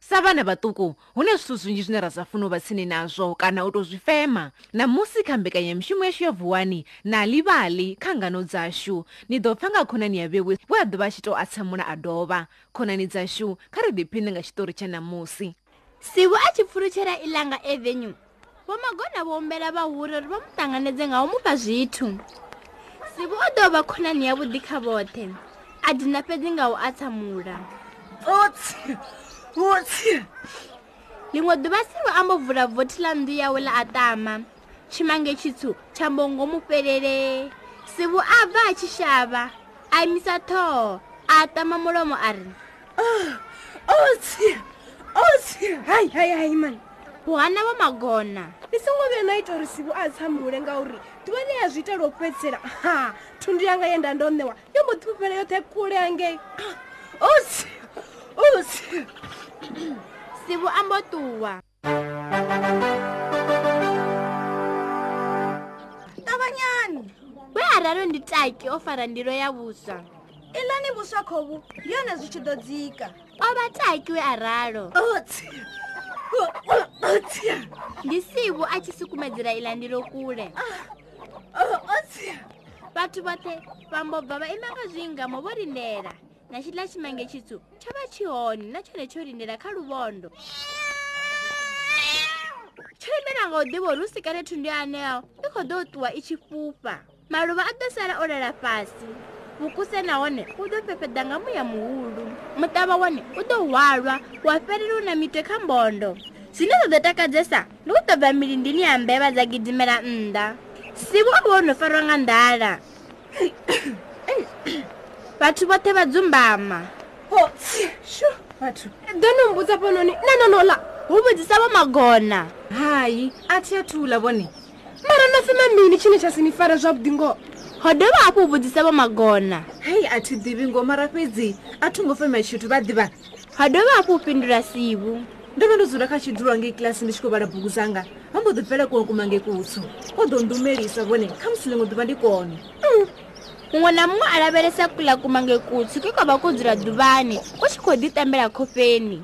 sa vhana vhaṱuku hu na zwithu zwinzhi zwine ra sa funa u vha tsini nazwo kana u tou zwi fema ṋamusi kha mbekanyamushumo yashu ya vuwani na ḽivhali kha ngano dzashu ni ḓo pfha nga khonani ya vhewe we a ḓovha a tshi tou atsamula a dovha khonani dzashu kha ri ḓiphine nga tshiṱori tsha ṋamusi sivu a tshi pfulutshela ilanga avenue vho magona vho humbela vhahuri uri vha mu ṱanganedze nga u mu fha zwithu sivu o ḓo vha khonani yavhuḓi kha vhoṱhe a dina fhedzi nga u atsamula otsi otsi ḽiṅwe ḓuvha sivu a mbo vula vothi ḽa nnḓu yawe ḽa atama tshimange tshitsu tsha mbo ngomu fhelele sivu a bva a tshi shavha a imisa ṱhoho a atama mulomo a ri otsi otsi hai hai hai mani buhana vho magona ndi songo vhuya na ita uri sivu a tsamule ngauri ḓuvha ḽe ya zwi itela u fhedzisela ha thundu yanga ye nda ndo ṋewa yo mbo ḓifhufhela yoṱhe kule hangei otsi otsi sivu a mbo ṱuwa ṱavhanyani we a ralo ndi taki o fara ndilo ya vuswa iḽani vhuswa khovhu yone zwi tshi ḓo dzika o vha taki we a ralo otsi otsi ndi sivu a tshi sukumedzela iḽa ndilo kule otsi vhathu vhoṱhe vha mbo bva vha ima nga zwingamo vho lindela na tshiḽa tshimange tshitsu tsho vha tshi hone na tshone tsho lindela kha luvondo tsho imela nga u ḓivha uri hu sikane thundu aneo i khou ḓo ṱuwa i tshi fhufha maluvha a ḓo sala o lala fhasi vhukuse nahone u ḓo fhefheḓa nga muya muhulu muṱavha wone u ḓo hwalwa wa fhelela u na mitwe kha mbondo zwine zwa ḓo takadzesa ndi u ṱobva milindini ya mbevha dza gidimela nnḓa sivu o vha o no farwa nga nḓala vhathu vhoṱhe vha dzumbama otsi shu vhathu ḓo no mbudza fhanoni na nonola hu vhudzisa vho magona hai a thi a thula vhone mara no fema mini tshine tsha si ni fara zwavhuḓi ngoho ho dovha hafhu u vhudzisa vho magona hei a thi ḓivhi ngo mara fhedzi a thi ngo fema tshithu vha ḓivha ho dovha hafhu u fhindula sivu ndo vha ndo dzula kha tshidulo ngei kiḽasi ndi tshi khou vhala bugu dzanga vha mbo ḓi bvela kuṅwe kumange kutsu o ḓo ndumelisa vhone kha musi ḽiṅwe ḓuvha ndi kone muṅwe na muṅwe a lavhelesa kuḽa kumange kutsu ke kwa vha ko dzula ḓuvhani u tshi khou ḓiṱambela khofeni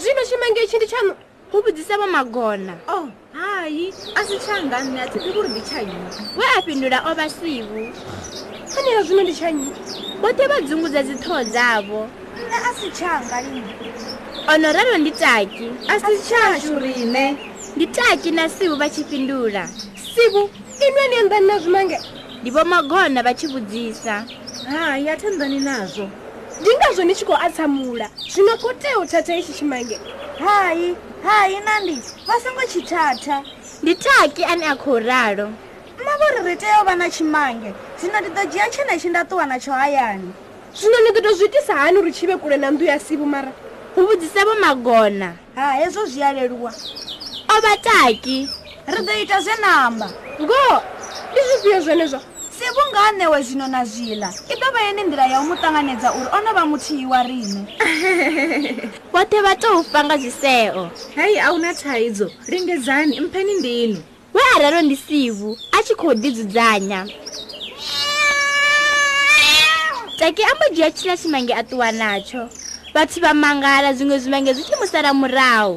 zwino tshimange itshi ndi tshanu hu vhudzisa vho magona o Oh, hai a si tshanga nne a thi ḓivhi uri ndi tshaini we a fhindula o vha sivu hani ya zwino ndi tshanyi vhoṱhe vha dzungudza dziṱhoho dzavho nne a si tshanga lini o no ralo ndi taki a si tshashu rine ndi taki na sivu vha tshi fhindula sivu inwe ni anḓani na zwimange ndi vho magona vha tshi vhudzisa hai a thi nnḓani nazwo ndi ngazwo ni tshi khou atsamula zwino ko tea u thatha itshi tshimange hai hai nandi vha songo tshi thatha ndi taki ane a khou ralo mma vho ri ri tea u vha na tshimange zwino ndi ḓo dzhia tshenetshi nda ṱuwa natsho hayani zwino ni ḓo to zwi itisa hani uri tshi vhe kule na nnḓu ya sivu mara hu vhudzisa vho magona ha hezwo zwi a leluwa o vha taki ri ḓo ita zwe namba ngoho ndi zwifhio zwenezwo sivu nga a ṋewe zwino na zwiḽa i ḓo vha yene nḓila ya u mu ṱanganedza uri o no vha muthihi wa riṋe vhoṱhe vha tou fa nga zwiseo hei a hu na thaidzo lingedzani mpheni ndinu we a ralo ndi sivu a tshi khou ḓidzudzanya taki a mbo dzhia tshila tshimange a ṱuwa natsho vhathu vha mangala zwiṅwe zwimange zwi tshi mu sala murahu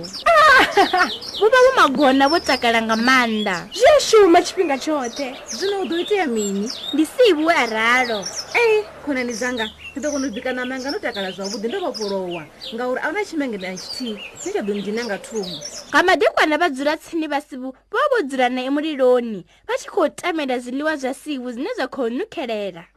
vho vha vho magona vho takala nga maanḓa zwi a shuma tshifhinga tshoṱhe zwino hu ḓo itea mini ndi sivu we a ralo ee khonani dzanga ni ḓo kona u bika ṋama yanga no takala zwavhuḓi ndo vhofholowa ngauri a hu na tshimenge na tshithihi ni tsha ḓo ndina nga thungo nga madekwana vha dzula tsini vha sivu vho vho dzula nae muliloni vha tshi khou tamela zwiḽiwa zwa sivu zwine zwa khou nukhelela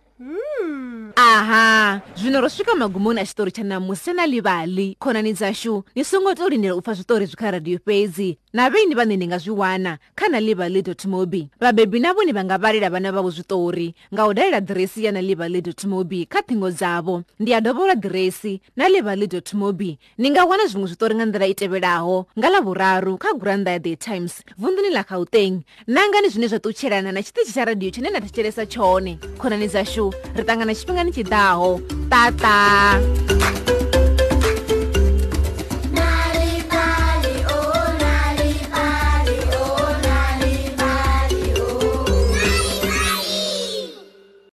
aha zwino ro swika magumoni a tshitori tsha namusi na ḽivhali khonani dzashu ni songo tou lindela u pfa zwiṱori zwi kha radio fhedzi na vheni vhane ni nga zwi wana kha na ḽivhali mobi vhabebi na vhone vha nga vhalela vhana vhavho zwiṱori nga u dalela ḓiresi ya na ḽivhali mobi kha ṱhingo dzavho ndi a dovhola ḓiresi na ḽivhali mobi ni nga wana zwiṅwe zwiṱori nga nḓila i tevhelaho nga ḽa vhuraru kha gurannda ya the times vunḓuni ḽa gauteng nangani zwine zwa ṱutshelana na tshiṱitshi tsha radio tshine na thetshelesa tshone khonani dzashu ri ṱangana tshifhingani tshiḓaho tata